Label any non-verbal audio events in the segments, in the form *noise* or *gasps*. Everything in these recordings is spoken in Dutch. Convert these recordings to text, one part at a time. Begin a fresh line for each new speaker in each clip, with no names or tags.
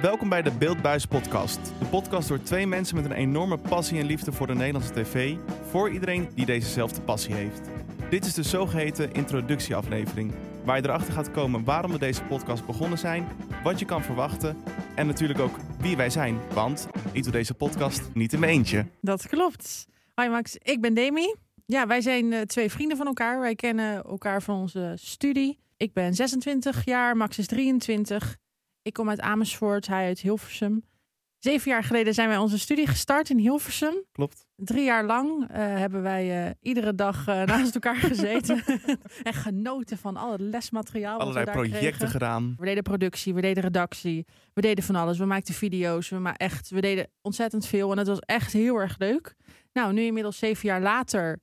Welkom bij de Beeldbuis Podcast. De podcast door twee mensen met een enorme passie en liefde voor de Nederlandse tv. Voor iedereen die dezezelfde passie heeft. Dit is de zogeheten introductieaflevering. Waar je erachter gaat komen waarom we deze podcast begonnen zijn. Wat je kan verwachten. En natuurlijk ook wie wij zijn. Want ik doe deze podcast niet in mijn eentje.
Dat klopt. Hi Max, ik ben Demi. Ja, wij zijn eh, twee vrienden van elkaar. Wij kennen elkaar van onze studie. Ik ben 26 jaar, Max is 23. Ik kom uit Amersfoort, hij uit Hilversum. Zeven jaar geleden zijn wij onze studie gestart in Hilversum.
Klopt.
Drie jaar lang eh, hebben wij eh, iedere dag eh, *laughs* naast elkaar gezeten. *laughs* en genoten van al het lesmateriaal. wat we
Allerlei
daar
projecten
kregen.
gedaan.
We deden productie, we deden redactie, we deden van alles. We maakten video's, we, ma echt, we deden ontzettend veel en het was echt heel erg leuk. Nou, nu inmiddels zeven jaar later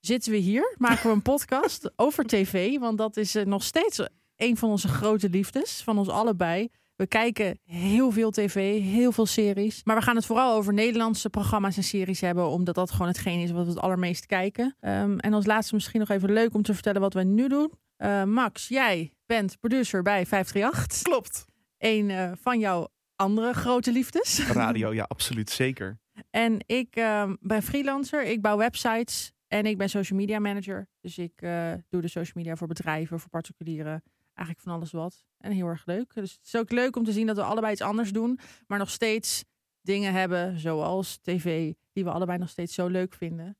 zitten we hier, maken we een *laughs* podcast over tv, want dat is eh, nog steeds een van onze grote liefdes, van ons allebei. We kijken heel veel tv, heel veel series. Maar we gaan het vooral over Nederlandse programma's en series hebben, omdat dat gewoon hetgeen is wat we het allermeest kijken. Ehm, en als laatste misschien nog even leuk om te vertellen wat wij nu doen. Eh, Max, jij bent producer bij 538.
Klopt.
Een eh, van jouw andere grote liefdes. *laughs*
Radio, ja, absoluut zeker.
En ik ehm, ben freelancer, ik bouw websites en ik ben social media manager. Dus ik eh, doe de social media voor bedrijven, voor particulieren, eigenlijk van alles wat. En heel erg leuk. Dus het is ook leuk om te zien dat we allebei iets anders doen, maar nog steeds dingen hebben zoals tv, die we allebei nog steeds zo leuk vinden.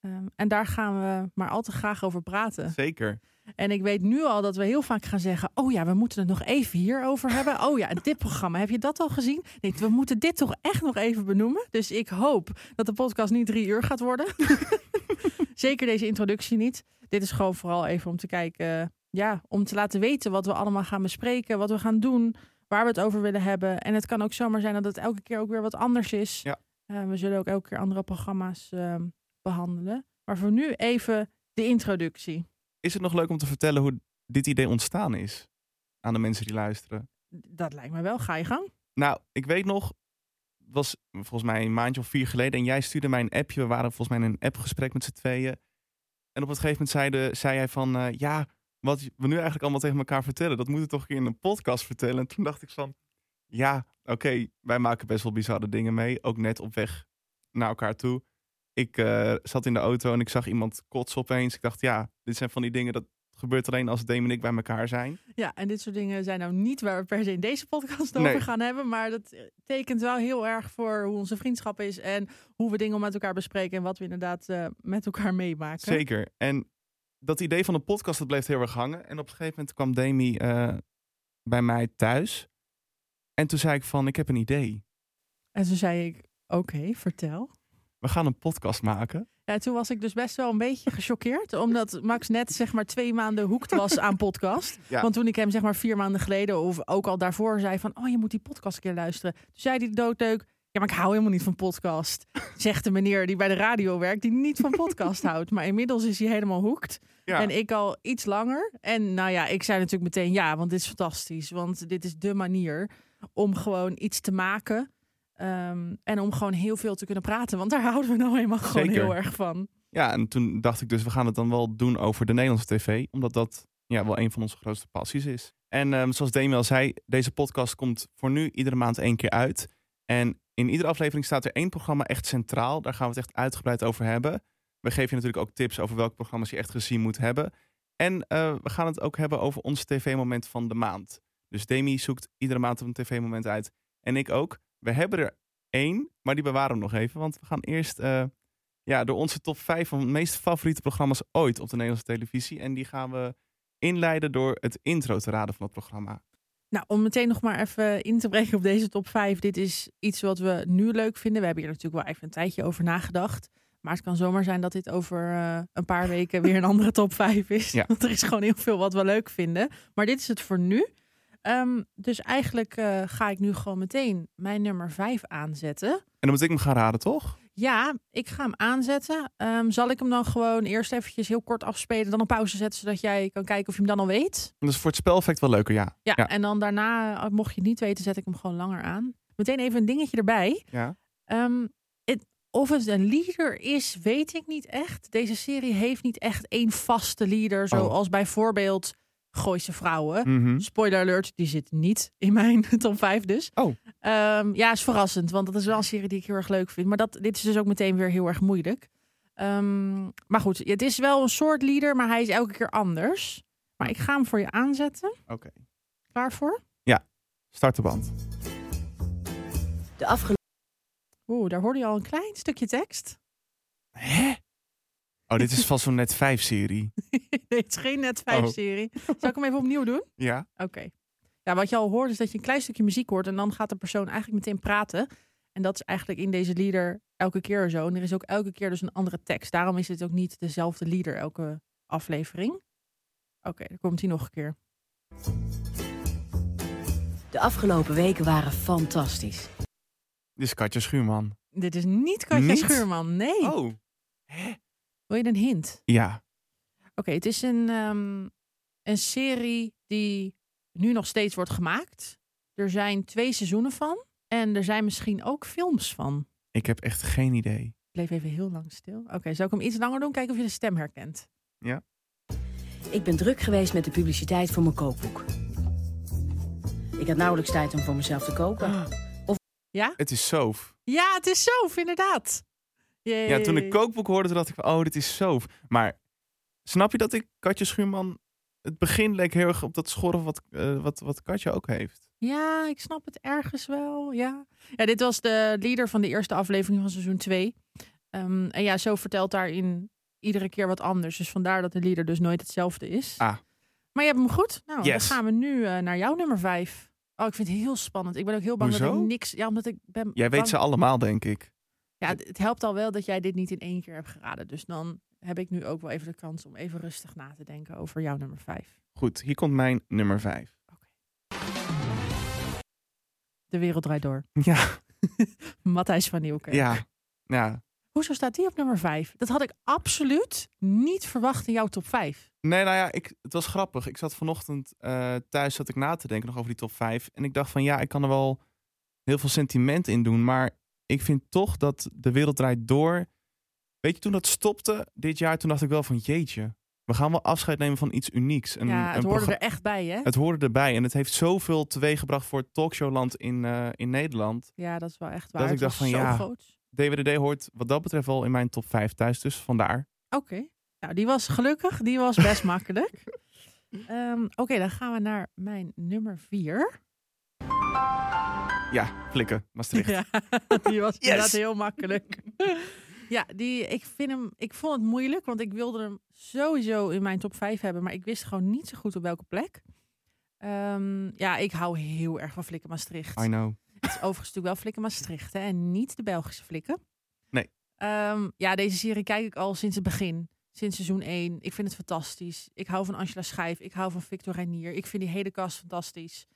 Ehm, en daar gaan we maar al te graag over praten.
Zeker.
En ik weet nu al dat we heel vaak gaan zeggen: Oh ja, we moeten het nog even hierover hebben. Oh ja, en dit programma, heb je dat al gezien? Nee, we moeten dit toch echt nog even benoemen. Dus ik hoop dat de podcast niet drie uur gaat worden. *laughs* Zeker deze introductie niet. Dit is gewoon vooral even om te kijken, eh, ja, om te laten weten wat we allemaal gaan bespreken, wat we gaan doen, waar we het over willen hebben. En het kan ook zomaar zijn dat het elke keer ook weer wat anders is.
Ja.
Eh, we zullen ook elke keer andere programma's ehm, behandelen. Maar voor nu even de introductie.
Is het nog leuk om te vertellen hoe dit idee ontstaan is? Aan de mensen die luisteren.
Dat lijkt me wel. Ga je gang.
Nou, ik weet nog, het was volgens mij een maandje of vier geleden. En jij stuurde mij een appje. We waren volgens mij in een appgesprek met z'n tweeën. En op een gegeven moment zeide, zei hij van... eh, ja, wat we nu eigenlijk allemaal tegen elkaar vertellen... dat moeten we toch een keer in een podcast vertellen. En toen dacht ik van... Ja, oké, wij maken best wel bizarre dingen mee. Ook net op weg naar elkaar toe. Ik eh, zat in de auto en ik zag iemand kotsen opeens. Ik dacht, ja, dit zijn van die dingen... dat gebeurt alleen als Damon en ik bij elkaar zijn.
Ja, en dit soort dingen zijn nou niet waar we per se in deze podcast
Nee.
over gaan hebben. Maar dat eh, tekent wel heel erg voor hoe onze vriendschap is. En hoe we dingen met elkaar bespreken. En wat we inderdaad eh, met elkaar meemaken.
Zeker. En dat idee van de podcast, dat bleef heel erg hangen. En op een gegeven moment kwam Demi eh, bij mij thuis. En toen zei ik van, ik heb een idee.
En toen zei ik, oké, vertel.
We gaan een podcast maken.
Ja, toen was ik dus best wel een beetje gechoqueerd. Omdat Max net zeg maar twee maanden hoekt was aan podcast.
Ja.
Want toen ik hem zeg maar vier maanden geleden of ook al daarvoor zei van... oh, je moet die podcast een keer luisteren. Toen zei hij doodleuk... ja, maar ik hou helemaal niet van podcast. Zegt de meneer die bij de radio werkt, die niet van podcast houdt. Maar inmiddels is hij helemaal hoekt.
Ja,
En ik al iets langer. En nou ja, ik zei natuurlijk meteen ja, want dit is fantastisch. Want dit is de manier om gewoon iets te maken. Ehm, en om gewoon heel veel te kunnen praten. Want daar *laughs* houden we nou eenmaal gewoon
Zeker.
heel erg van.
ja, en toen dacht ik dus, we gaan het dan wel doen over de Nederlandse tv. Omdat dat ja, wel een van onze grootste passies is. En ehm, zoals Demi al zei, deze podcast komt voor nu iedere maand één keer uit. En in iedere aflevering staat er één programma echt centraal. Daar gaan we het echt uitgebreid over hebben. We geven je natuurlijk ook tips over welke programma's je echt gezien moet hebben. En eh, we gaan het ook hebben over ons tv-moment van de maand. Dus Demi zoekt iedere maand een tv-moment uit. En ik ook. We hebben er één, maar die bewaren we nog even. Want we gaan eerst eh, ja, door onze top 5 van de meest favoriete programma's ooit op de Nederlandse televisie. En die gaan we inleiden door het intro te raden van het programma.
Nou, om meteen nog maar even in te breken op deze top 5. Dit is iets wat we nu leuk vinden. We hebben hier natuurlijk wel even een tijdje over nagedacht. Maar het kan zomaar zijn dat dit over eh, een paar weken weer een andere top 5 is.
Ja.
Want er is gewoon heel veel wat we leuk vinden. Maar dit is het voor nu. Ehm, dus eigenlijk eh, ga ik nu gewoon meteen mijn nummer 5 aanzetten.
En dan moet ik hem gaan raden, toch?
Ja, ik ga hem aanzetten. Ehm, zal ik hem dan gewoon eerst eventjes heel kort afspelen, dan op pauze zetten, zodat jij kan kijken of je hem dan al weet?
Dat is voor het speleffect wel leuker, ja.
Ja, en dan daarna, eh, mocht je het niet weten, zet ik hem gewoon langer aan. Meteen even een dingetje erbij.
Ja.
Ehm, het, of het een leader is, weet ik niet echt. Deze serie heeft niet echt één vaste leader, zoals bijvoorbeeld Gooise Vrouwen.
Oh. Mhm.
Spoiler alert, die zit niet in mijn *laughs* top 5 dus.
Oh.
Ehm, ja, is verrassend, want dat is wel een serie die ik heel erg leuk vind. Maar dat, dit is dus ook meteen weer heel erg moeilijk. Ehm, maar goed, het is wel een soort leader, maar hij is elke keer anders. Maar ik ga hem voor je aanzetten.
Oké.
Klaar voor?
Start de band.
De afgelopen...
Oeh, daar hoorde je al een klein stukje tekst. *laughs*
Hè? Oh, dit is vast zo'n net 5 serie.
nee, het is geen net 5
Oh.
serie. Zal ik hem even opnieuw doen?
Ja.
Oké. Ja, wat je al hoort is dat je een klein stukje muziek hoort en dan gaat de persoon eigenlijk meteen praten. En dat is eigenlijk in deze lieder elke keer zo. En er is ook elke keer dus een andere tekst. Daarom is het ook niet dezelfde lieder elke aflevering. Oké, dan komt hij nog een keer.
De afgelopen weken waren fantastisch.
Dit is Katja Schuurman.
Dit is niet Katja
Niet?
Schuurman. Nee.
Oh.
Wil je een hint?
Ja.
Oké, het is een, ehm, een serie die nu nog steeds wordt gemaakt. Er zijn twee seizoenen van. En er zijn misschien ook films van.
Ik heb echt geen idee.
Ik bleef even heel lang stil. Oké, zou ik hem iets langer doen? Kijken of je de stem herkent.
Ik ben druk geweest met de publiciteit voor mijn kookboek. Ik had nauwelijks tijd om voor mezelf te koken.
Het is Soof.
Ja, het is Soof, inderdaad.
Ja, toen ik
kook.
kookboek hoorde, toen dacht ik van, oh, dit is Soof. Maar snap je dat ik Katja Schuurman... Het begin leek heel erg op dat schorren wat, eh, wat, wat Katja ook heeft.
Ja, ik snap het ergens wel. Ja. ja, dit was de leader van de eerste aflevering van seizoen 2. en ja, zo vertelt daarin iedere keer wat anders. Dus vandaar dat de leader dus nooit hetzelfde is.
Ah.
Maar je hebt hem goed. Nou, dan
Yes.
gaan we nu eh, naar jouw nummer 5. Oh, ik vind het heel spannend. Ik ben ook heel bang dat
Hoezo?
ik niks... Ja, omdat ik ben
Jij weet
bang-
ze allemaal, denk ik.
Ja, het het helpt al wel dat jij dit niet in één keer hebt geraden. Dus dan heb ik nu ook wel even de kans om even rustig na te denken over jouw nummer 5.
Goed, hier komt mijn nummer 5.
De wereld draait door.
Ja,
*laughs* Matthijs van Nieuwkerk.
ja, ja.
Hoezo staat die op nummer 5? Dat had ik absoluut niet verwacht in jouw top 5.
Nee, nou ja, ik, het was grappig. Ik zat vanochtend eh, thuis zat ik na te denken nog over die top 5. En ik dacht van ja, ik kan er wel heel veel sentiment in doen. Maar ik vind toch dat de wereld draait door. Weet je, toen dat stopte dit jaar, toen dacht ik wel van jeetje. We gaan wel afscheid nemen van iets unieks. Een,
ja, het
een
hoorde
progra-
er echt bij, hè?
het hoorde erbij. En het heeft zoveel teweeggebracht voor het talkshowland in, eh, in Nederland.
Ja, dat is wel echt waar.
Dat ik
Het
dacht
was
van,
zo
ja.
groot.
DWDD hoort wat dat betreft wel in mijn top 5 thuis. Dus vandaar.
Oké. Nou, die was gelukkig. Die was best *laughs* makkelijk. Ehm, Oké, dan gaan we naar mijn nummer 4.
Ja, flikken.
*laughs*
Maastricht.
Ja, die was
Yes.
inderdaad heel makkelijk. *laughs* ja, die, ik, vind hem, ik vond het moeilijk, want ik wilde hem sowieso in mijn top 5 hebben, maar ik wist gewoon niet zo goed op welke plek. Ehm, ja, ik hou heel erg van Flikken Maastricht.
I know.
Het is overigens natuurlijk wel Flikken Maastricht hè, en niet de Belgische Flikken.
Nee.
Ehm, ja, deze serie kijk ik al sinds het begin. Sinds seizoen 1. Ik vind het fantastisch. Ik hou van Angela Schijf. Ik hou van Victor Reinier. Ik vind die hele cast fantastisch.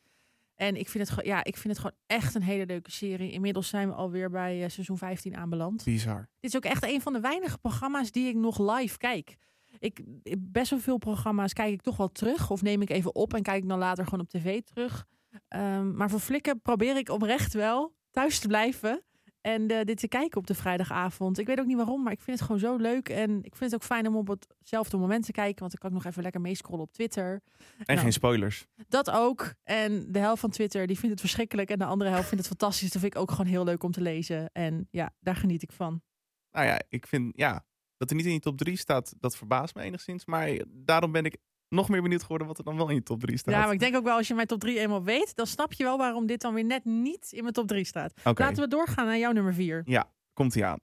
En ik vind, het, gewoon- ja, ik vind het gewoon echt een hele leuke serie. Inmiddels zijn we alweer bij eh, seizoen 15 aanbeland.
Bizar.
Dit is ook echt een van de weinige programma's die ik nog live kijk. Ik, ik- best wel veel programma's kijk ik toch wel terug. Of neem ik even op en kijk ik dan later gewoon op tv terug. Ehm, maar voor Flikken probeer ik oprecht wel thuis te blijven. En eh, dit te kijken op de vrijdagavond. Ik weet ook niet waarom, maar ik vind het gewoon zo leuk. En ik vind het ook fijn om op hetzelfde moment te kijken. Want dan kan ik nog even lekker meescrollen op Twitter.
En
Nou.
geen spoilers.
Dat ook. En de helft van Twitter die vindt het verschrikkelijk. En de andere helft vindt het fantastisch. Dat vind ik ook gewoon heel leuk om te lezen. En ja, daar geniet ik van.
Nou ja, ik vind ja, dat hij niet in je top 3 staat, dat verbaast me enigszins. Maar daarom ben ik nog meer benieuwd geworden wat er dan wel in je top 3 staat.
Ja, maar ik denk ook wel als je mijn top 3 eenmaal weet, dan snap je wel waarom dit dan weer net niet in mijn top 3 staat.
Oké,
Laten we doorgaan naar jouw nummer 4.
komt hij aan.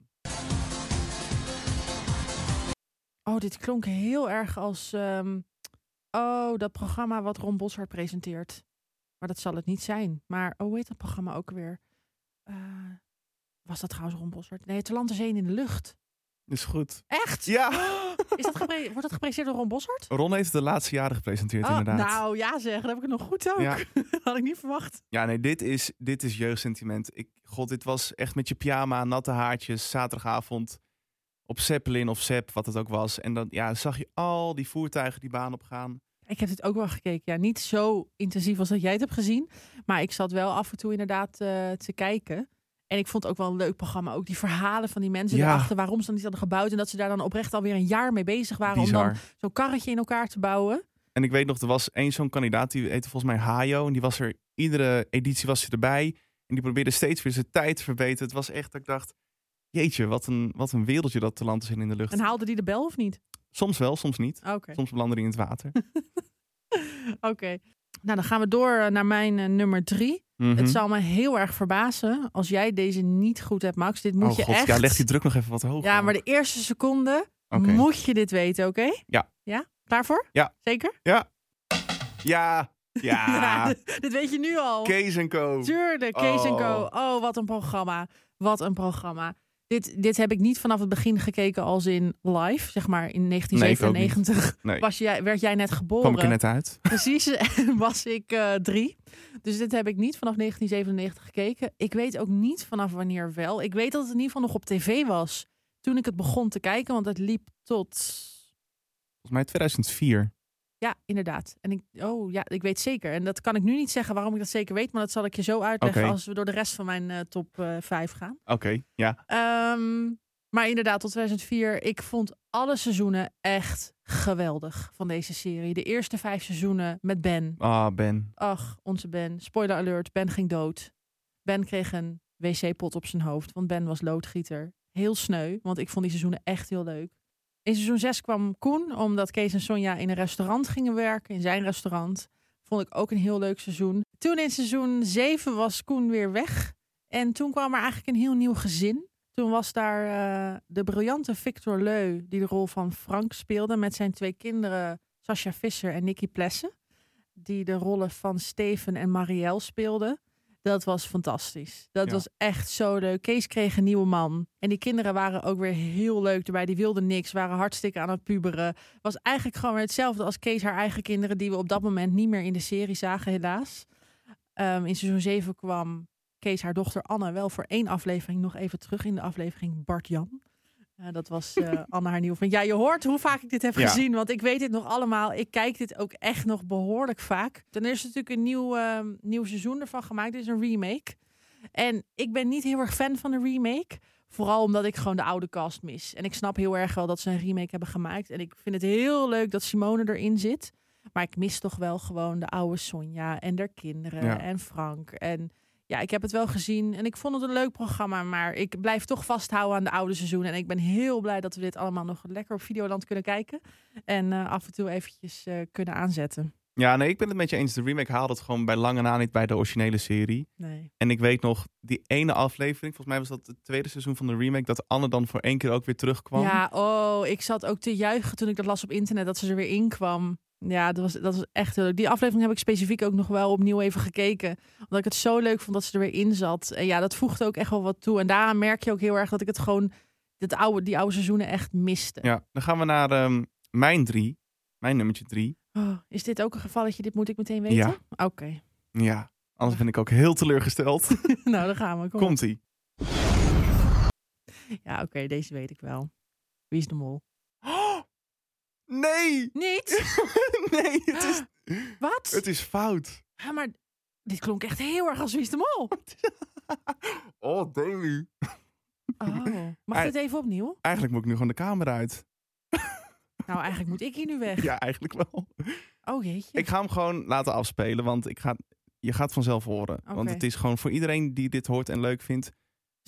Oh, dit klonk heel erg als. ehm, oh, dat programma wat Ron Boshart presenteert. Maar dat zal het niet zijn. Maar oh, hoe heet dat programma ook weer? Eh, was dat trouwens Ron Boshart? Nee, het land is één in de lucht.
Is
*gasps*
goed.
Echt?
Ja!
Is dat gepre- wordt dat gepresenteerd door Ron Boshart?
Ron heeft het de laatste jaren gepresenteerd,
Oh,
inderdaad.
nou ja, zeg, dat heb ik het nog goed ook.
Ja.
*laughs* Had ik niet verwacht.
Ja, nee, dit is, dit is jeugdsentiment. Ik, God, dit was echt met je pyjama, natte haartjes, zaterdagavond op Zeppelin of Zepp, wat het ook was. En dan ja, zag je al die voertuigen die baan opgaan.
Ik heb dit ook wel gekeken. Ja, niet zo intensief als dat jij het hebt gezien. Maar ik zat wel af en toe inderdaad eh, te kijken. En ik vond het ook wel een leuk programma. Ook die verhalen van die mensen
Ja.
erachter. Waarom ze dan niet hadden gebouwd. En dat ze daar dan oprecht alweer een jaar mee bezig waren. Om
Bizar.
dan zo'n karretje in elkaar te bouwen.
En ik weet nog, er was één zo'n kandidaat, die heette volgens mij Hayo. En die was er, iedere editie was hij erbij. En die probeerde steeds weer zijn tijd te verbeteren. Het was echt dat ik dacht, jeetje, wat een, wat een wereldje dat talent is in in de lucht.
En haalde die de bel of niet?
Soms wel, soms niet.
Oké.
Soms belanden die in het
*laughs*
water.
Oké. Nou, dan gaan we door eh, naar mijn eh, nummer drie.
Mhm.
Het zal me heel erg verbazen als jij deze niet goed hebt, Max. Dit moet
oh
je
god,
echt...
ja, leg die druk nog even wat hoger.
Ja, maar de eerste seconde
Oké.
moet je dit weten, oké?
Ja.
Ja? Klaar voor?
Ja.
Zeker?
Ja,
*laughs*
ja.
dit weet je nu al.
Ah. Kees en Co.
Tuurlijk, Kees en Co.
Oh.
Oh, wat een programma. Wat een programma. Dit, dit heb ik niet vanaf het begin gekeken als in live, zeg maar in 1997.
Nee,
was jij, werd jij net geboren?
kwam ik er net uit. *laughs*
Precies, *laughs* en was ik eh, drie. Dus dit heb ik niet vanaf 1997 gekeken. Ik weet ook niet vanaf wanneer wel. Ik weet dat het in ieder geval nog op tv was toen ik het begon te kijken, want het liep tot...
Volgens mij 2004.
Ja, inderdaad. En ik, oh ja, ik weet zeker. En dat kan ik nu niet zeggen waarom ik dat zeker weet, maar dat zal ik je zo uitleggen
Oké.
als we door de rest van mijn eh, top eh 5 gaan.
Oké, ja.
Ehm, maar inderdaad, tot 2004. Ik vond alle seizoenen echt geweldig van deze serie. De eerste vijf seizoenen met Ben.
Ah, Ben.
Ach, onze Ben. Spoiler alert, Ben ging dood. Ben kreeg een wc-pot op zijn hoofd, want Ben was loodgieter. Heel sneu, want ik vond die seizoenen echt heel leuk. In seizoen 6 kwam Koen, omdat Kees en Sonja in een restaurant gingen werken, in zijn restaurant. Vond ik ook een heel leuk seizoen. Toen in seizoen 7 was Koen weer weg. En toen kwam er eigenlijk een heel nieuw gezin. Toen was daar eh, de briljante Victor Leu, die de rol van Frank speelde, met zijn twee kinderen, Sascha Visser en Nicky Plessen. Die de rollen van Steven en Marielle speelden. Dat was fantastisch. Dat
Ja.
was echt zo leuk. Kees kreeg een nieuwe man. En die kinderen waren ook weer heel leuk erbij. Die wilden niks, waren hartstikke aan het puberen was eigenlijk gewoon weer hetzelfde als Kees haar eigen kinderen, die we op dat moment niet meer in de serie zagen, helaas. Ehm, in seizoen 7 kwam Kees haar dochter Anne wel voor één aflevering nog even terug in de aflevering Bart Jan. Eh, dat was eh, Anne haar nieuwe vriend. Ja, je hoort hoe vaak ik dit heb
Ja.
gezien, want ik weet dit nog allemaal. Ik kijk dit ook echt nog behoorlijk vaak. Dan is er natuurlijk een nieuw, ehm, nieuw seizoen ervan gemaakt, dit is een remake. En ik ben niet heel erg fan van de remake. Vooral omdat ik gewoon de oude cast mis. En ik snap heel erg wel dat ze een remake hebben gemaakt. En ik vind het heel leuk dat Simone erin zit. Maar ik mis toch wel gewoon de oude Sonja en haar kinderen
Ja.
en Frank. En ja, ik heb het wel gezien. En ik vond het een leuk programma. Maar ik blijf toch vasthouden aan de oude seizoenen. En ik ben heel blij dat we dit allemaal nog lekker op Videoland kunnen kijken. En eh, af en toe eventjes eh, kunnen aanzetten.
Ja, nee, ik ben het met je eens. De remake haalde het gewoon bij lange na niet bij de originele serie.
Nee.
En ik weet nog, die ene aflevering, volgens mij was dat het tweede seizoen van de remake, dat Anne dan voor één keer ook weer terugkwam.
Ja, oh, ik zat ook te juichen toen ik dat las op internet dat ze er weer in kwam. Ja, dat was, dat was echt heel leuk. Die aflevering heb ik specifiek ook nog wel opnieuw even gekeken. Omdat ik het zo leuk vond dat ze er weer in zat. En ja, dat voegde ook echt wel wat toe. En daaraan merk je ook heel erg dat ik het gewoon, dat oude, die oude seizoenen echt miste.
Ja, dan gaan we naar ehm, mijn drie. Mijn nummertje drie.
Oh, is dit ook een gevalletje? Dit moet ik meteen weten?
Ja.
Oké, *laughs*
Ja, anders ben ik ook heel teleurgesteld. *laughs*
nou dan gaan we. Kom.
Komt-ie. *gasps*
Ja, oké, deze weet ik wel. Wie is de mol?
Nee! *laughs*
Niet?
nee, het
*gasps*
is,
Wat?
het is
*laughs*
fout.
Ah, maar dit klonk echt heel erg als Wie is de
*laughs*
mol?
Oh, Daily.
Oh, mag
Ah.
dit even opnieuw?
Eigenlijk moet ik nu gewoon de kamer uit. *laughs*
Nou, eigenlijk moet ik hier nu weg.
Ja, eigenlijk
*laughs*
wel.
Oh jeetje.
Ik ga hem gewoon laten afspelen, want ik ga, je gaat vanzelf horen. Want
Oké.
het is gewoon voor iedereen die dit hoort en leuk vindt.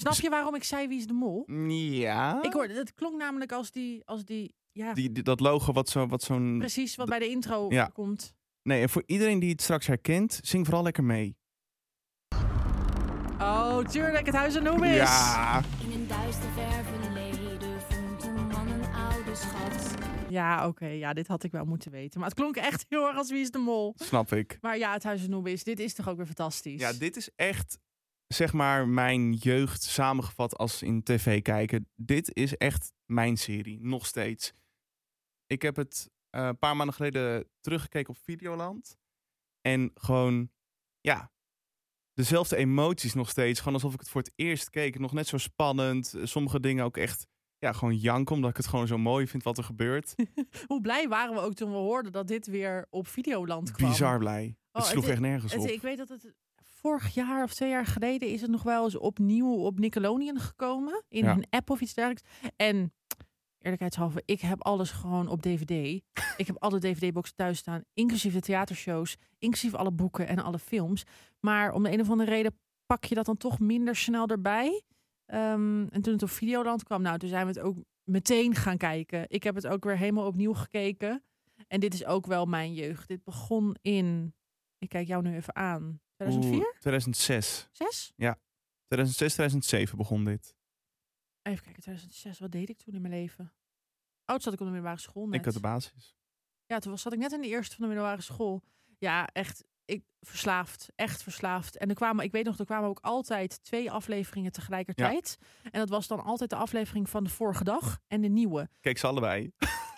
Snap je waarom ik zei wie is de mol?
Ja.
Ik hoorde, het klonk namelijk als die, als die ja,
Die, die- dat logo wat zo'n... Wat zo'n
precies wat bij de intro
Ja.
komt.
nee, en voor iedereen die het straks herkent, zing vooral lekker mee.
Oh, tuurlijk, het huis en noem is.
Ja.
In een duister ver verleden vond een man een oude schat.
Ja, oké, ja, dit had ik wel moeten weten. Maar het klonk echt *laughs* heel erg als wie is de mol.
Snap ik.
Maar ja, het huis en noem is, dit is toch ook weer fantastisch.
Ja, dit is echt, zeg maar, mijn jeugd samengevat als in tv kijken. Dit is echt mijn serie, nog steeds. Ik heb het eh, een paar maanden geleden teruggekeken op Videoland. En gewoon, ja, dezelfde emoties nog steeds. Gewoon alsof ik het voor het eerst keek. Nog net zo spannend. Sommige dingen ook echt, ja, gewoon janken. Omdat ik het gewoon zo mooi vind wat er
*laughs*
gebeurt.
Hoe blij waren we ook toen we hoorden dat dit weer op Videoland kwam.
Bizar blij.
Oh,
het sloeg
het-
echt nergens
Het-
op.
ik weet dat het vorig jaar of twee jaar geleden is het nog wel eens opnieuw op Nickelodeon gekomen. In
Ja.
een app of iets dergelijks. En eerlijkheidshalve, ik heb alles gewoon
*laughs*
op DVD. ik heb alle DVD-boxen thuis staan, inclusief de theatershows, inclusief alle boeken en alle films. Maar om de een of andere reden pak je dat dan toch minder snel erbij. Ehm, en toen het op Videoland kwam, nou, toen zijn we het ook meteen gaan kijken. Ik heb het ook weer helemaal opnieuw gekeken. En dit is ook wel mijn jeugd. Dit begon in, ik kijk jou nu even aan, 2004?
Oeh, 2006.
6?
2006, 2007 begon dit.
Even kijken, 2006, wat deed ik toen in mijn leven? Oud zat ik op de middelbare school net.
Ik had de basis.
Ja, toen was, zat ik net in de eerste van de middelbare school. Ja, echt ik, verslaafd. Echt verslaafd. En er kwamen, ik weet nog, er kwamen ook altijd twee afleveringen tegelijkertijd. En dat was dan altijd de aflevering van de vorige dag en de nieuwe.
Kijk, ze allebei.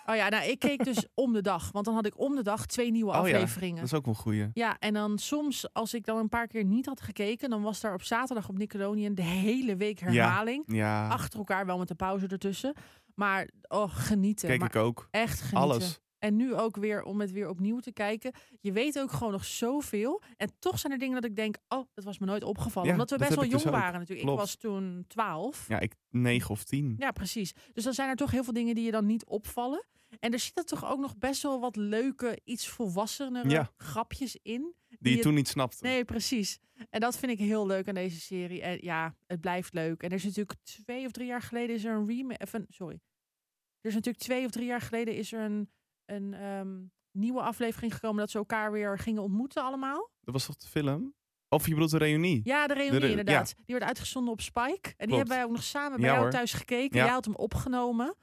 Oh ja, nou, ik keek dus om de dag. Want dan had ik om de dag twee nieuwe
Oh ja,
afleveringen.
Dat is ook wel een goeie.
Ja, en dan soms, als ik dan een paar keer niet had gekeken, dan was daar op zaterdag op Nickelodeon de hele week herhaling.
Ja,
Achter elkaar, wel met een pauze ertussen. Maar oh, genieten.
keek
maar
ik ook.
echt genieten.
Alles.
En nu ook weer om het weer opnieuw te kijken. Je weet ook gewoon nog zoveel. En toch zijn er dingen dat ik denk, oh, dat was me nooit opgevallen.
Ja,
Omdat we
dat
best wel
heb ik
jong
dus ook.
waren natuurlijk.
Klopt.
Ik was toen 12. Ja.
Ja, ik 9 of 10.
precies. Dus dan zijn er toch heel veel dingen die je dan niet opvallen. En er zitten toch ook nog best wel wat leuke, iets volwassenere
Ja.
grapjes in.
die je
je-
toen niet snapte.
Nee, precies. En dat vind ik heel leuk aan deze serie. En ja, het blijft leuk. En er is natuurlijk twee of drie jaar geleden is er een remake. Of een, sorry. Er is natuurlijk twee of drie jaar geleden is er een, een ehm, nieuwe aflevering gekomen dat ze elkaar weer gingen ontmoeten allemaal.
Dat was toch de film? Of je bedoelt de reunie?
Ja, de reunie
De re-
inderdaad. Die werd uitgezonden op Spike. En die hebben wij ook nog samen bij
Ja,
jou
hoor.
thuis gekeken.
Ja.
Jij had hem opgenomen.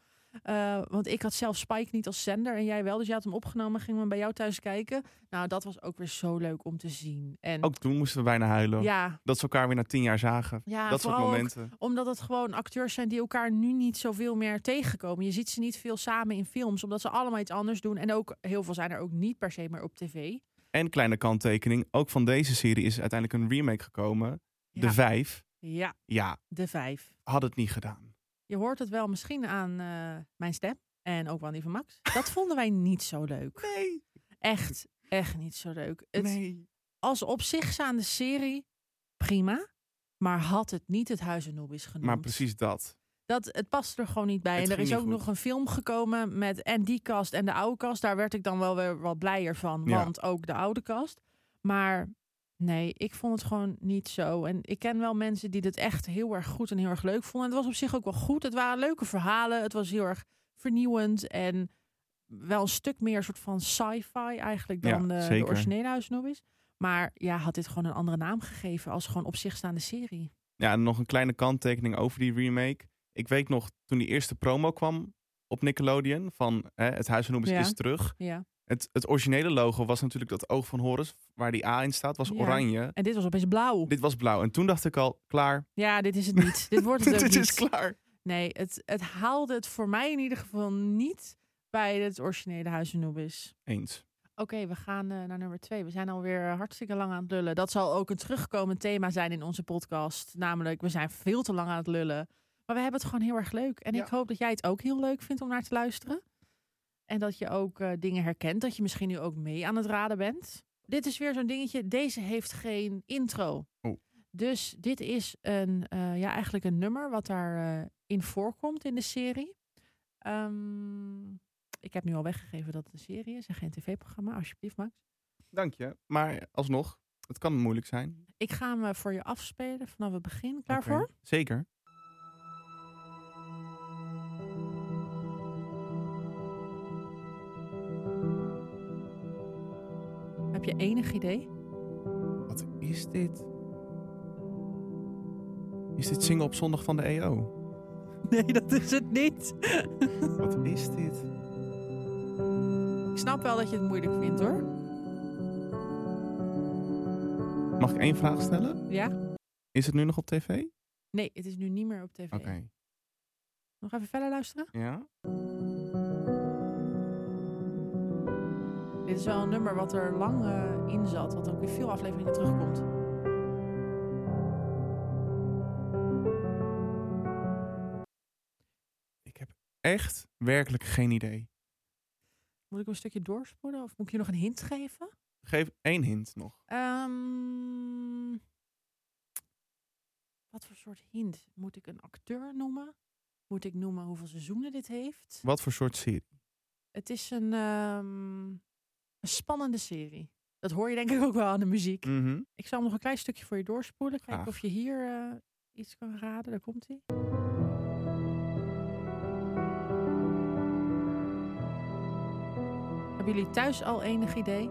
Eh, want ik had zelf Spike niet als zender en jij wel. Dus jij had hem opgenomen, gingen we hem bij jou thuis kijken. Nou, dat was ook weer zo leuk om te zien. En
Ook toen moesten we bijna huilen.
ja,
Dat ze elkaar weer na 10 jaar zagen.
ja,
dat soort
vooral ook
momenten.
Omdat het gewoon acteurs zijn die elkaar nu niet zoveel meer tegenkomen. Je ziet ze niet veel samen in films, omdat ze allemaal iets anders doen. En ook heel veel zijn er ook niet per se meer op tv.
En kleine kanttekening. Ook van deze serie is uiteindelijk een remake gekomen.
Ja.
De vijf.
Ja,
Ja,
de vijf.
had het niet gedaan.
Je hoort het wel misschien aan eh, mijn stem en ook wel aan die van Max. Dat *laughs* vonden wij niet zo leuk.
Nee.
Echt, echt niet zo leuk. Het,
nee.
Als op zich staande serie, prima. Maar had het niet het Huis Anubis genoemd.
Maar precies dat.
Dat, het past er gewoon niet bij.
Het
en er
ging
is
niet
ook
goed.
nog een film gekomen met en die kast en de oude kast. Daar werd ik dan wel weer wat blijer van,
Ja.
want ook de oude kast. Maar nee, ik vond het gewoon niet zo. En ik ken wel mensen die dit echt heel erg goed en heel erg leuk vonden. En het was op zich ook wel goed. Het waren leuke verhalen. Het was heel erg vernieuwend en wel een stuk meer soort van sci-fi eigenlijk
Ja,
dan de, de
zeker.
originele huisnobbies. Maar ja, had dit gewoon een andere naam gegeven als gewoon op zich staande serie.
Ja, en nog een kleine kanttekening over die remake. Ik weet nog, toen die eerste promo kwam op Nickelodeon... van hè, het Huis van Noemis
Ja.
is terug.
Ja.
Het, het originele logo was natuurlijk dat oog van Horus... waar die A in staat, was
Ja.
oranje.
En dit was opeens blauw.
Dit was blauw. En toen dacht ik al, klaar.
Ja, dit is het niet.
*laughs*
dit *laughs* wordt het ook
Dit
niet.
is klaar.
Nee, het, het haalde het voor mij in ieder geval niet bij het originele Huis Anubis.
Eens.
Oké, we gaan eh, naar nummer twee. We zijn alweer eh, hartstikke lang aan het lullen. Dat zal ook een terugkomend thema zijn in onze podcast. Namelijk, we zijn veel te lang aan het lullen. Maar we hebben het gewoon heel erg leuk. En
Ja.
ik hoop dat jij het ook heel leuk vindt om naar te luisteren. En dat je ook eh, dingen herkent. Dat je misschien nu ook mee aan het raden bent. Dit is weer zo'n dingetje. Deze heeft geen intro.
Oh.
Dus dit is een, eh, ja, eigenlijk een nummer wat daarin in voorkomt in de serie. Ehm, ik heb nu al weggegeven dat het een serie is en geen tv-programma. Alsjeblieft, Max.
Dank je. Maar alsnog, het kan moeilijk zijn.
Ik ga hem eh, voor je afspelen vanaf het begin. Klaar
Oké.
voor?
Zeker.
Heb je enig idee?
Wat is dit? Is dit zingen op zondag van de E EO?
*laughs* Nee, dat is het niet.
Wat is dit?
Ik snap wel dat je het moeilijk vindt, hoor.
Mag ik één vraag stellen?
Ja?
Is het nu nog op tv? Oké.
Nee, het is nu niet meer op tv. Nog even verder luisteren?
Ja?
Dit is wel een nummer wat er lang eh, in zat. Wat ook in veel afleveringen terugkomt.
Ik heb echt werkelijk geen idee.
Moet ik hem een stukje doorspoelen? Of moet ik je nog een hint geven?
Geef één hint nog.
Ehm, wat voor soort hint? Moet ik een acteur noemen? Moet ik noemen hoeveel seizoenen dit heeft?
Wat voor soort serie?
Het is een, ehm, een spannende serie. Dat hoor je denk ik ook wel aan de muziek.
Mhm.
Ik zal hem nog een klein stukje voor je doorspoelen. Kijken
Graag.
of je hier eh, iets kan raden. Daar komt hij. Hebben jullie thuis al enig idee?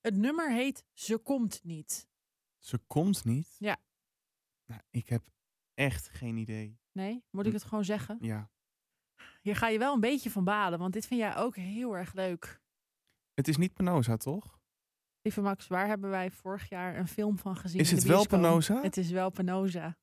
Het nummer heet Ze komt niet.
Ze komt niet.
Ja.
Nou, ik heb echt geen idee.
Nee, moet ik het gewoon zeggen?
Ja.
Hier ga je wel een beetje van balen, want dit vind jij ook heel erg leuk.
Het is niet Penosa, toch?
Lieve Max, waar hebben wij vorig jaar een film van gezien?
Is
in de
het wel
bioscoop?
Penosa? Dus-
Het is wel Penosa.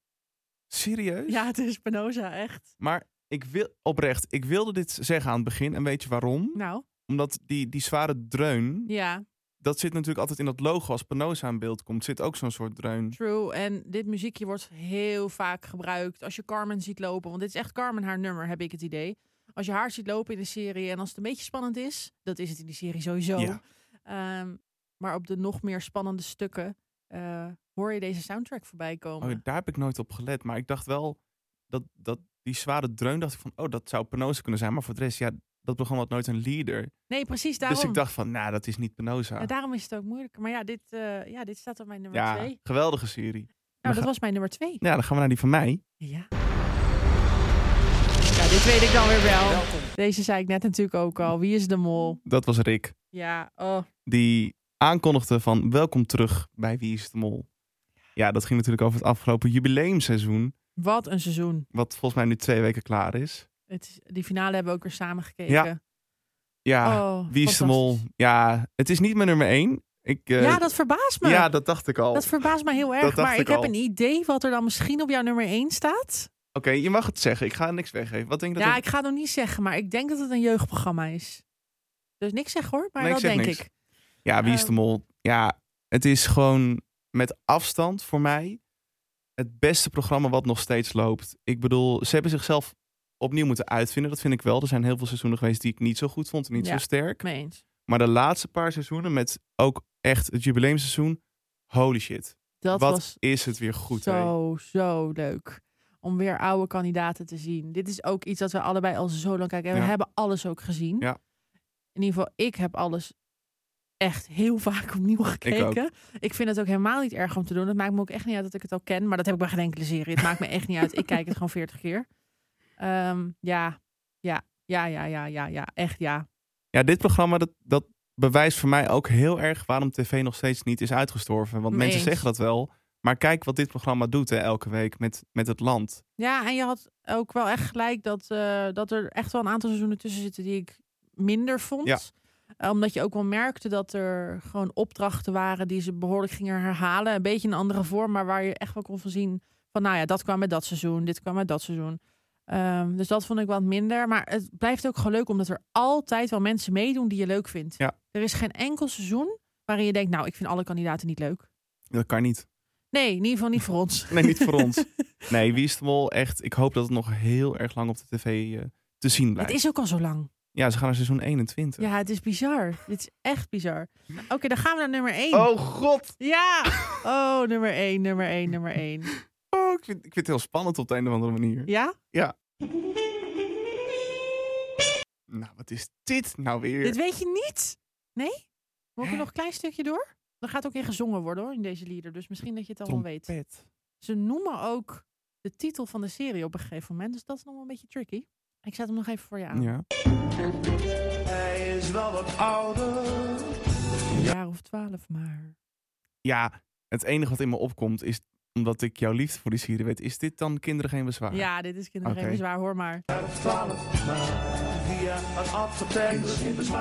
Serieus?
Ja, het is Penosa, echt.
Maar ik wil, oprecht, ik wilde dit zeggen aan het begin. En weet je waarom?
Nou,
Omdat die, die zware dreun,
ja,
dat zit natuurlijk altijd in dat logo als Penosa in beeld komt. Zit ook zo'n soort dreun.
true. En dit muziekje wordt heel vaak gebruikt als je Carmen ziet lopen. Want dit is echt Carmen haar nummer, heb ik het idee. Als je haar ziet lopen in de serie en als het een beetje spannend is, dat is het in die serie sowieso.
Ja.
Ehm, maar op de nog meer spannende stukken eh, hoor je deze soundtrack voorbij komen.
Oh, daar heb ik nooit op gelet. Maar ik dacht wel dat, dat die zware dreun, dacht ik van, oh, dat zou Penosa kunnen zijn. Maar voor de rest, ja, dat begon wat nooit een leader.
Nee, precies daarom.
Dus ik dacht van, nou, dat is niet Penosa.
Ja, daarom is het ook moeilijker. Maar ja, dit, eh, ja, dit staat op mijn nummer
Ja,
twee.
geweldige serie. ga-
Nou, dat was mijn nummer twee.
Ja, dan gaan we naar die van mij.
Ja. Ja, dit weet ik dan weer wel.
Welkom.
Deze zei ik net natuurlijk ook al. Wie is de mol?
Dat was Rick.
Ja, oh.
Die aankondigde van welkom terug bij Wie is de Mol. Ja, dat ging natuurlijk over het afgelopen jubileumseizoen.
Wat een seizoen.
Wat volgens mij nu twee weken klaar is.
Het is, die finale hebben we ook weer samen gekeken.
Ja, Ja,
Oh,
Wie is de Mol.
fantastisch.
Ja, het is niet mijn nummer één. Ik, eh,
ja, dat verbaast me.
ja, dat dacht ik al.
dat
Oké,
verbaast me heel erg.
dacht
Maar
ik
ik heb
al.
een idee wat er dan misschien op jouw nummer 1 staat.
je mag het zeggen. Ik ga niks weggeven. Wat denk je dat
Ja,
het-
ik ga het nog niet zeggen, maar ik denk dat het een jeugdprogramma is. Dus niks zeg hoor, maar
Nee, ik
dat
zeg
denk
niks.
ik.
Ja, Wie is
Eh,
de Mol. Ja, het is gewoon met afstand voor mij het beste programma wat nog steeds loopt. Ik bedoel, ze hebben zichzelf opnieuw moeten uitvinden. Dat vind ik wel. Er zijn heel veel seizoenen geweest die ik niet zo goed vond en niet
Ja.
zo sterk.
Mee eens.
Maar de laatste paar seizoenen met ook echt het jubileumseizoen. Holy shit.
Dat
wat
was
is het weer goed. hè?
Zo, zo leuk. Om weer oude kandidaten te zien. Dit is ook iets dat we allebei al zo lang kijken. En we
Ja.
hebben alles ook gezien.
Ja.
In ieder geval, ik heb alles echt heel *laughs* vaak opnieuw gekeken. Ik, vind het ook helemaal niet erg om te doen. Het maakt me ook echt niet uit dat ik het al ken. Maar dat heb ik bij geen enkele serie. Het maakt me echt niet uit. Ik kijk het gewoon veertig keer. Ehm, ja, ja, ja, ja, ja, ja, ja. Echt ja.
Ja, dit programma, dat, dat bewijst voor mij ook heel erg waarom tv nog steeds niet is uitgestorven. Want
Mee
mensen
eens.
zeggen dat wel. Maar kijk wat dit programma doet hè, elke week met, met het land.
Ja, en je had ook wel echt gelijk dat, eh, dat er echt wel een aantal seizoenen tussen zitten die ik minder vond.
Ja.
Eh, omdat je ook wel merkte dat er gewoon opdrachten waren die ze behoorlijk gingen herhalen. Een beetje in een andere vorm, maar waar je echt wel kon van zien van nou ja, dat kwam met dat seizoen, dit kwam met dat seizoen. Ehm, dus dat vond ik wat minder. Maar het blijft ook gewoon leuk omdat er altijd wel mensen meedoen die je leuk vindt.
Ja.
Er is geen enkel seizoen waarin je denkt, nou, ik vind alle kandidaten niet leuk.
Dat kan niet.
Nee, in ieder geval niet voor ons.
Nee, niet voor
*laughs*
ons. Nee, Wie is de Mol, echt. Ik hoop dat het nog heel erg lang op de tv eh, te zien
Het
blijft.
is ook al zo lang.
Ja, ze gaan naar seizoen 21.
Ja, het is bizar. *laughs* Dit is echt bizar. Nou, Oké, dan gaan we naar nummer 1.
Oh god!
Ja! Oh, nummer 1, nummer 1, nummer 1.
Oh, ik, vind, ik vind het heel spannend op de een of andere manier.
Ja?
Nou, wat is dit nou weer?
Dit weet je niet? Nee? Moet ik er
Hè?
nog een klein stukje door? Er gaat ook in gezongen worden hoor, in deze lieder. Dus misschien dat je het al wel weet.
Trompet.
Ze noemen ook de titel van de serie op een gegeven moment. Dus dat is nog wel een beetje tricky. Ik zet hem nog even voor je aan.
Ja.
Hij is wel wat ouder.
Een jaar of twaalf maar.
ja, het enige wat in me opkomt is, omdat ik jouw liefde voor die sieren weet, is dit dan kinderen geen bezwaar?
Ja, dit is kinderen
Ah. Oké.
geen zwaar hoor, maar
Twaalf maar via een advertentie.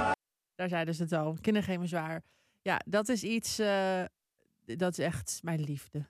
daar zeiden ze het al. Kinderen geen bezwaar. Ja, dat is iets. eh, dat is echt mijn liefde.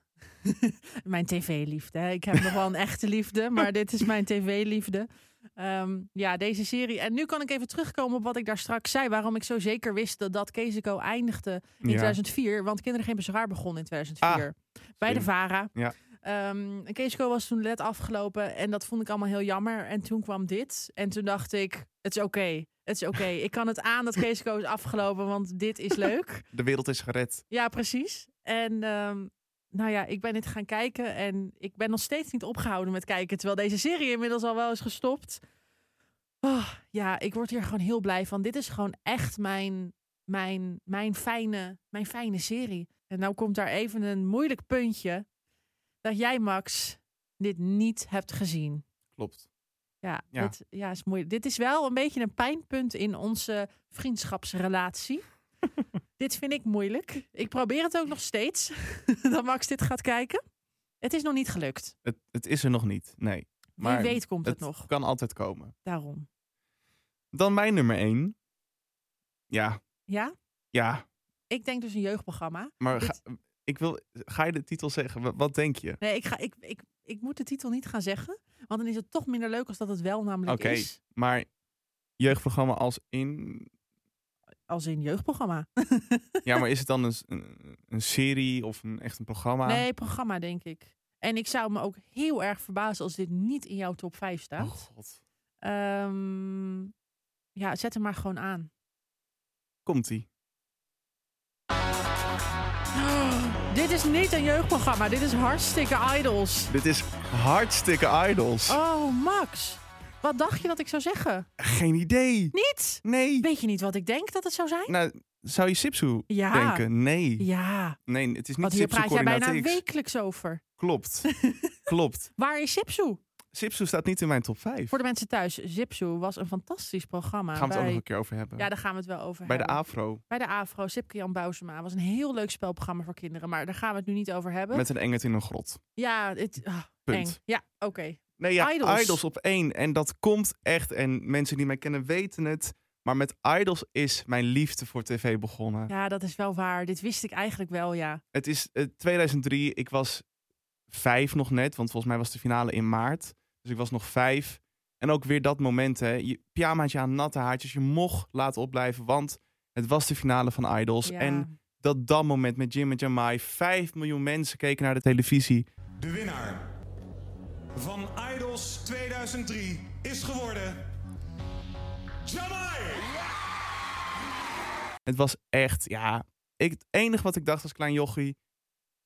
*laughs* mijn tv-liefde. hè. Ik heb nog wel een echte liefde, maar dit is mijn tv-liefde. Ehm, ja, deze serie. En nu kan ik even terugkomen op wat ik daar straks zei. Waarom ik zo zeker wist dat dat Kezico eindigde in
Ja. Ah,
2004. Want Kinderen Geen Bezwaar begon in 2004. bij de
slim.
VARA.
Ja.
Ehm, en Keesico was toen net afgelopen. En dat vond ik allemaal heel jammer. En toen kwam dit. En toen dacht ik, het is oké. Het is oké. ik kan het aan dat Keesico is afgelopen, want dit is leuk.
De wereld is gered.
Ja, precies. En ehm, nou ja, ik ben dit gaan kijken en ik ben nog steeds niet opgehouden met kijken. Terwijl deze serie inmiddels al wel is gestopt. Oh, ja, ik word hier gewoon heel blij van. Dit is gewoon echt mijn, mijn, mijn, fijne, mijn fijne serie. En nou komt daar even een moeilijk puntje. Dat jij, Max, dit niet hebt gezien.
Klopt.
Ja,
Ja.
Dit, ja, is moeilijk. dit is wel een beetje een pijnpunt in onze
*laughs*
vriendschapsrelatie. dit vind ik moeilijk. Ik probeer het ook nog steeds, *laughs* dat Max dit gaat kijken. Het is nog niet gelukt.
Het, het is er nog niet. Nee. Maar
Wie weet komt het, nog,
kan altijd komen.
daarom.
Dan mijn nummer één. Ja,
Ja,
ja.
ik denk dus een jeugdprogramma.
Maar
Dit-
ga, ik wil, ga je de titel zeggen? Wa- Wat denk je?
Nee, ik, ga, ik, ik, ik moet de titel niet gaan zeggen, want dan is het toch minder leuk als dat het wel namelijk
Oké.
is.
Maar jeugdprogramma als
*laughs*
in...
Als in jeugdprogramma.
Ja, maar is het dan een, s- een, een serie of een, echt een programma?
Nee, programma denk ik. En ik zou me ook heel erg verbazen als dit niet in jouw top 5 staat.
Oh god.
Ehm, ja, zet hem maar gewoon aan.
Komt-ie.
Dit is niet een jeugdprogramma. Dit is hartstikke idols.
Dit is hartstikke idols.
Oh, Max. Wat dacht je dat ik zou zeggen?
Geen idee.
Niet.
Nee.
Weet je niet wat ik denk dat het zou zijn?
Nou, zou je Sipsu
Ja.
denken? Nee.
Ja.
Nee, het is niet
Want hier
Sipsu
praat jij bijna
Coördinaat X.
wekelijks over. *laughs*
Klopt. Klopt.
Waar is Zipsoe?
Sipsu staat niet in mijn top 5.
Voor de mensen thuis, Zipsoe was een fantastisch programma.
Gaan we het ook
bij-
nog een keer over hebben.
Ja, daar gaan we het wel over
Bij de
hebben.
Afro.
Bij de AVRO, Sipke Jan Bousema. was een heel leuk spelprogramma voor kinderen. Maar daar gaan we het nu niet over hebben.
Met een engert in een grot.
Ja, het... ah,
Punt.
eng. Ja, oké.
Nee, ja,
Idols.
idols. op één. En dat komt echt. En mensen die mij kennen weten het. Maar met idols is mijn liefde voor tv begonnen.
Ja, dat is wel waar. Dit wist ik eigenlijk wel, ja.
Het is eh, 2003. Ik was vijf nog net. Want volgens mij was de finale in maart. Dus ik was nog vijf. En ook weer dat moment, hè. Je pyjamaatje aan, natte haartjes. Je mocht laten opblijven, want het was de finale van Idols.
Ja.
En dat dat moment met Jim en Jamai. Vijf miljoen mensen keken naar de televisie.
De winnaar van Idols 2003 is geworden. Jamai!
Het was echt, ja. Ik, het enige wat ik dacht als klein jochie.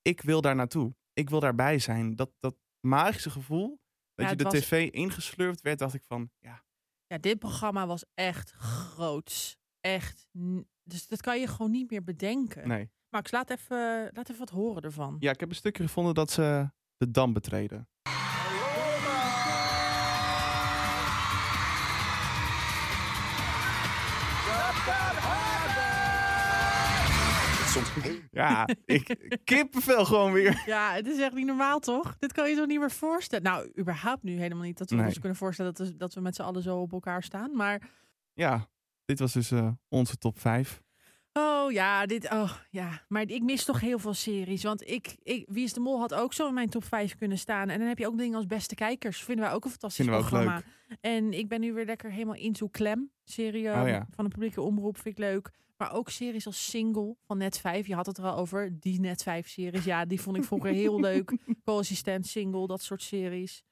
Ik wil daar naartoe. Ik wil daarbij zijn. Dat, dat magische gevoel. Dat
Ja,
je
het
de
was-
tv ingeslurpt werd, dacht ik van, ja,
Ja, dit programma was echt groots. Echt. n- Dus dat kan je gewoon niet meer bedenken.
nee.
Max, laat even, laat even wat horen ervan.
Ja, ik heb een stukje gevonden dat ze de dam betreden. Ja, ik kippenvel gewoon weer.
Ja, het is echt niet normaal, toch? Dit kan je toch niet meer voorstellen? Nou, überhaupt nu helemaal niet dat we
Nee.
ons kunnen voorstellen dat we, dat we met z'n allen zo op elkaar staan. Maar,
Ja, dit was dus eh, onze top 5.
oh ja, dit, oh ja. Maar ik mis toch heel veel series. Want ik, ik Wie is de Mol had ook zo in mijn top 5 kunnen staan. En dan heb je ook dingen als Beste Kijkers. Vinden wij ook een fantastisch
Vinden we ook
programma.
leuk.
En ik ben nu weer lekker helemaal into Clem. Serie eh,
Oh ja.
van de publieke omroep vind ik leuk. Maar ook series als Single van Net 5. Je had het er al over. Die Net 5 series. Ja, die vond ik vroeger
*laughs*
heel leuk. Co-assistent, Single, dat soort series.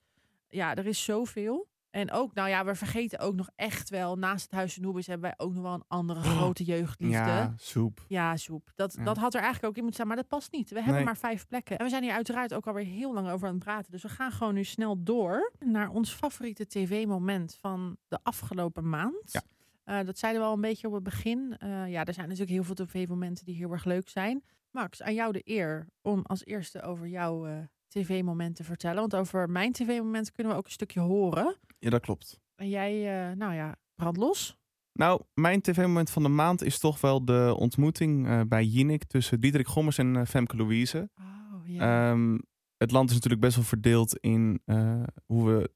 Ja, er is zoveel. En ook, nou ja, we vergeten ook nog echt wel. Naast het Huis van Noebis hebben wij ook nog wel een andere grote jeugdliefde.
Oh, Ja, soep.
Ja, soep. Dat,
Ja.
dat had er eigenlijk ook in moeten staan, maar dat past niet. We hebben
Nee.
maar vijf plekken. En we zijn hier uiteraard ook alweer heel lang over aan het praten. Dus we gaan gewoon nu snel door naar ons favoriete tv-moment van de afgelopen maand.
Ja.
Eh, dat zeiden we al een beetje op het begin. Eh, ja, er zijn natuurlijk heel veel tv-momenten die heel erg leuk zijn. Max, aan jou de eer om als eerste over jouw eh, tv-moment te vertellen. Want over mijn tv-moment kunnen we ook een stukje horen.
Ja, dat klopt.
En jij, eh, nou ja, brand los.
Nou, mijn tv-moment van de maand is toch wel de ontmoeting eh, bij Jinek tussen Diederik Gommers en eh, Femke Louise.
Oh, ja.
Ehm, het land is natuurlijk best wel verdeeld in eh, hoe we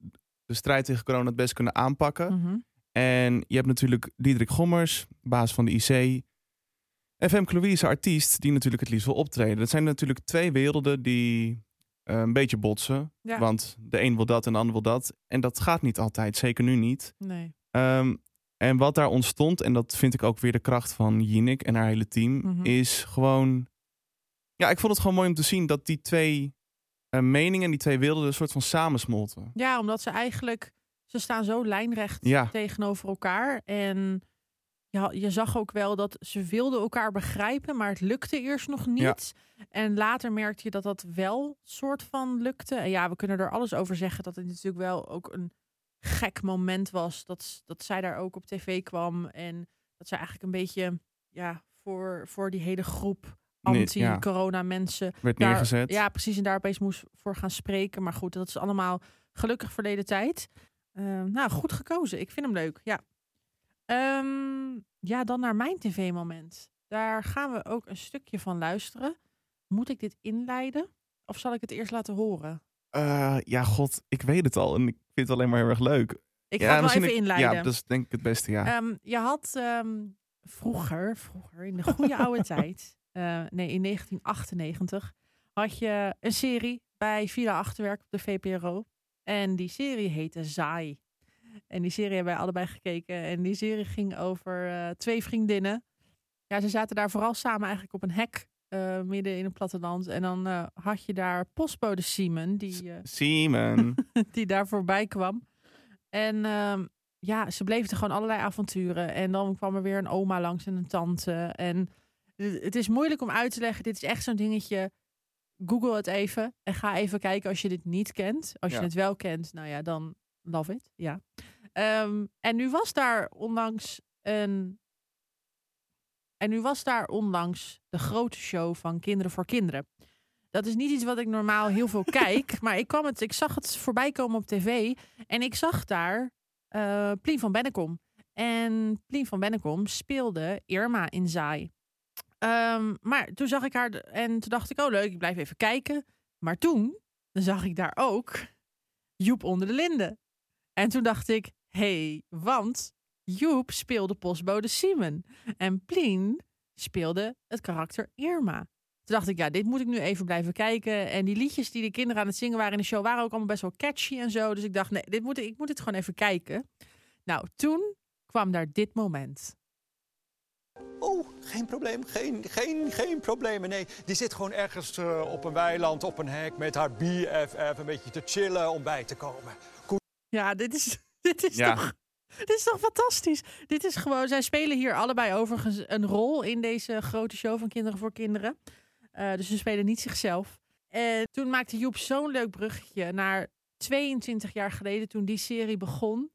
de strijd tegen corona het best kunnen aanpakken.
Mhm.
En je hebt natuurlijk Diederik Gommers, baas van de IC. En Femke Louise, artiest, die natuurlijk het liefst wil optreden. Dat zijn natuurlijk twee werelden die eh, een beetje botsen.
Ja.
Want de een wil dat en de ander wil dat. En dat gaat niet altijd, zeker nu niet.
Nee.
Ehm, en wat daar ontstond, en dat vind ik ook weer de kracht van Jinek en haar hele team,
Mhm.
is gewoon. Ja, ik vond het gewoon mooi om te zien dat die twee eh, meningen, die twee werelden, een soort van samensmolten.
Ja, omdat ze eigenlijk, ze staan zo lijnrecht
Ja.
tegenover elkaar. En je, ha- je zag ook wel dat ze wilden elkaar begrijpen, maar het lukte eerst nog niet. En later merkte je dat dat wel soort van lukte. En ja, we kunnen er alles over zeggen dat het natuurlijk wel ook een gek moment was. Dat, s- dat zij daar ook op tv kwam en dat zij eigenlijk een beetje ja, voor, voor die hele groep
Nee,
anti-corona mensen
Werd
daar-
neergezet.
Nou, ja, precies. En daar opeens moest voor gaan spreken. Maar goed, dat is allemaal gelukkig verleden tijd. Eh, nou, goed gekozen. Ik vind hem leuk. Ja. Ehm, ja, dan naar mijn tv-moment. Daar gaan we ook een stukje van luisteren. Moet ik dit inleiden? Of zal ik het eerst laten horen?
Eh, ja, god, ik weet het al. En ik vind het alleen maar heel erg leuk.
Ik
ja,
ga het wel
misschien
even
ik-
inleiden.
Ja, dat is denk ik het beste, ja.
Ehm, je had ehm, vroeger, vroeger, in de goede oude tijd, eh, nee, in 1998, had je een serie bij Villa Achterwerk op de VPRO. En die serie heette Zaai. En die serie hebben wij allebei gekeken. En die serie ging over eh, twee vriendinnen. Ja, ze zaten daar vooral samen eigenlijk op een hek. eh, midden in het platteland. En dan eh, had je daar postbode Simon. Die, eh, *laughs*
Simon.
die daar voorbij kwam. En ehm, ja, ze bleef er gewoon allerlei avonturen. En dan kwam er weer een oma langs en een tante. En het het is moeilijk om uit te leggen. Dit is echt zo'n dingetje. Google het even en ga even kijken als je dit niet kent. Als
Ja.
je het wel kent, nou ja, dan love it. Ja. Ehm, en nu was daar onlangs een. En nu was daar onlangs de grote show van Kinderen voor Kinderen. Dat is niet iets wat ik normaal heel veel kijk. Maar ik, kwam het, ik zag het voorbij komen op tv. En ik zag daar eh Plien van Bennekom. En Plien van Bennekom speelde Irma in Zaai. Ehm, maar toen zag ik haar d- en toen dacht ik, oh leuk, ik blijf even kijken. Maar toen zag ik daar ook Joep onder de linden. En toen dacht ik, hé, hey, want Joep speelde postbode Simon. En Plien speelde het karakter Irma. Toen dacht ik, ja, dit moet ik nu even blijven kijken. En die liedjes die de kinderen aan het zingen waren in de show waren ook allemaal best wel catchy en zo. Dus ik dacht, nee, dit moet, ik moet dit gewoon even kijken. Nou, toen kwam daar dit moment.
Oh, geen probleem, geen, geen, geen problemen, nee. Die zit gewoon ergens eh, op een weiland, op een hek... met haar BFF een beetje te chillen om bij te komen.
Ja, dit is, *laughs* dit is
Ja.
toch. Dit is toch fantastisch? Dit is gewoon. Zij spelen hier allebei overigens een rol in deze grote show van Kinderen voor Kinderen. Eh, dus ze spelen niet zichzelf. En toen maakte Joep zo'n leuk bruggetje naar 22 jaar geleden, toen die serie begon.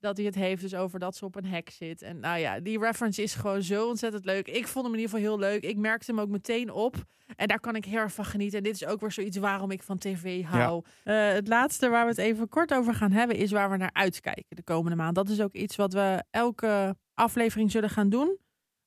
Dat hij het heeft dus over dat ze op een hek zit. En nou ja, die reference is gewoon zo ontzettend leuk. Ik vond hem in ieder geval heel leuk. Ik merkte hem ook meteen op. En daar kan ik heel erg van genieten. En dit is ook weer zoiets waarom ik van tv hou. Eh, het laatste waar we het even kort over gaan hebben is waar we naar uitkijken de komende maand. Dat is ook iets wat we elke aflevering zullen gaan doen.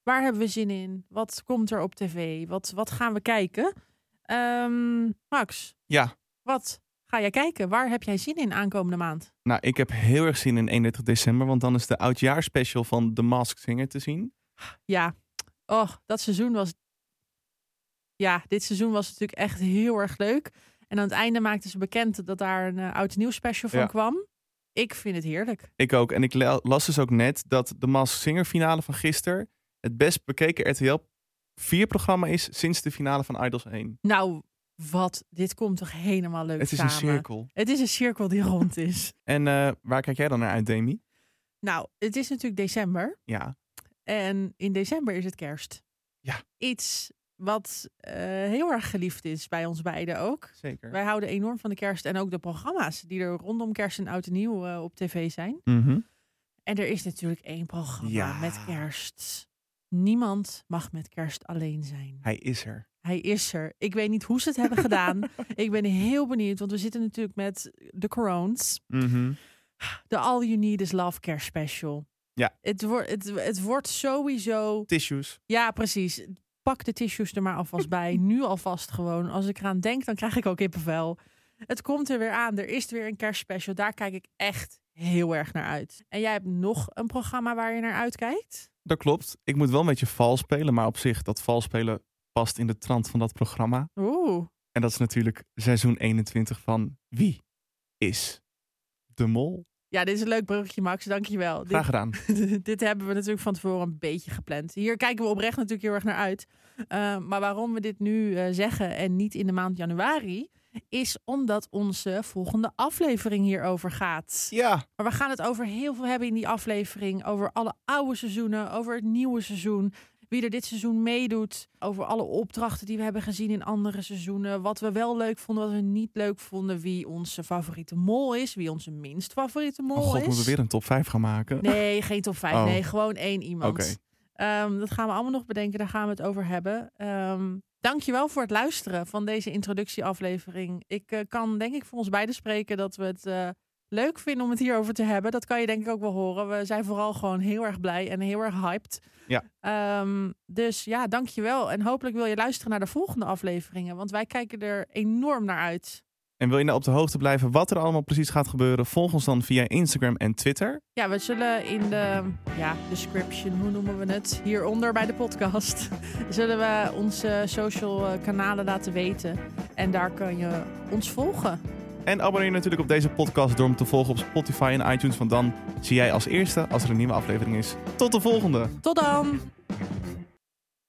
Waar hebben we zin in? Wat komt er op tv? Wat, wat gaan we kijken? Ehm, Max,
ja,
wat ga jij kijken? Waar heb jij zin in aankomende maand?
nou, ik heb heel erg zin in 31 december, want dan is de oudjaarspecial van The Masked Singer te zien.
Ja, oh, dat seizoen was. Ja, dit seizoen was natuurlijk echt heel erg leuk. En aan het einde maakten ze bekend dat daar een eh, oud nieuw special van
Ja.
kwam. Ik vind het heerlijk.
Ik ook. En ik la- las dus ook net dat de Masked Singer finale van gisteren het best bekeken RTL 4 programma is sinds de finale van Idols 1.
Nou, wat? Dit komt toch helemaal leuk
Het is een
samen?
cirkel.
Het is een cirkel die rond is. *laughs*
En eh, waar kijk jij dan naar uit, Demi?
nou, het is natuurlijk december.
Ja,
En in december is het kerst.
Ja.
Iets wat eh, heel erg geliefd is bij ons beiden ook.
zeker.
Wij houden enorm van de kerst en ook de programma's die er rondom kerst en oud en nieuw eh, op tv zijn.
Mhm.
En er is natuurlijk één programma
Ja.
met kerst. Niemand mag met kerst alleen zijn.
Hij is er.
Hij is er. Ik weet niet hoe ze het hebben
*laughs*
gedaan. Ik ben heel benieuwd, want we zitten natuurlijk met de corones.
Mhm.
De All You Need Is Love Care Special.
Ja.
Het, wordt, het, het wordt sowieso...
Tissues.
Ja, precies. Pak de tissues er maar alvast
*laughs*
bij. Nu alvast gewoon. Als ik eraan denk, dan krijg ik ook kippenvel. Het komt er weer aan. Er is weer een kerstspecial. Daar kijk ik echt heel erg naar uit. En jij hebt nog een programma waar je naar uitkijkt?
Dat klopt. Ik moet wel een beetje vals spelen, maar op zich, dat vals spelen past in de trant van dat programma.
Oeh.
En dat is natuurlijk seizoen 21 van Wie is de Mol?
Ja, dit is een leuk bruggetje, Max. Dankjewel. Dit-
Graag gedaan.
*laughs* dit hebben we natuurlijk van tevoren een beetje gepland. Hier kijken we oprecht natuurlijk heel erg naar uit. Eh, maar waarom we dit nu eh, zeggen en niet in de maand januari, is omdat onze volgende aflevering hierover gaat.
Ja,
Maar we gaan het over heel veel hebben in die aflevering. Over alle oude seizoenen, over het nieuwe seizoen. Wie er dit seizoen meedoet. Over alle opdrachten die we hebben gezien in andere seizoenen. Wat we wel leuk vonden, wat we niet leuk vonden. Wie onze favoriete mol is. Wie onze minst favoriete mol
oh god,
is.
moeten we weer een top 5 gaan maken?
Nee, geen top 5.
Oh.
Nee, gewoon één iemand.
Oké.
Ehm, dat gaan we allemaal nog bedenken. Daar gaan we het over hebben. Ehm dankjewel voor het luisteren van deze introductieaflevering. Ik eh, kan denk ik voor ons beiden spreken dat we het eh, leuk vinden om het hierover te hebben. Dat kan je denk ik ook wel horen. We zijn vooral gewoon heel erg blij en heel erg hyped.
Ja.
Ehm, dus ja, dankjewel. En hopelijk wil je luisteren naar de volgende afleveringen. Want wij kijken er enorm naar uit.
En wil je nou op de hoogte blijven wat er allemaal precies gaat gebeuren? Volg ons dan via Instagram en Twitter.
Ja, we zullen in de ja, description, hoe noemen we het, hieronder bij de podcast, *laughs* zullen we onze social eh, kanalen laten weten. En daar kan je ons volgen.
En abonneer je natuurlijk op deze podcast door hem te volgen op Spotify en iTunes. Want dan zie jij als eerste als er een nieuwe aflevering is. Tot de volgende!
Tot dan!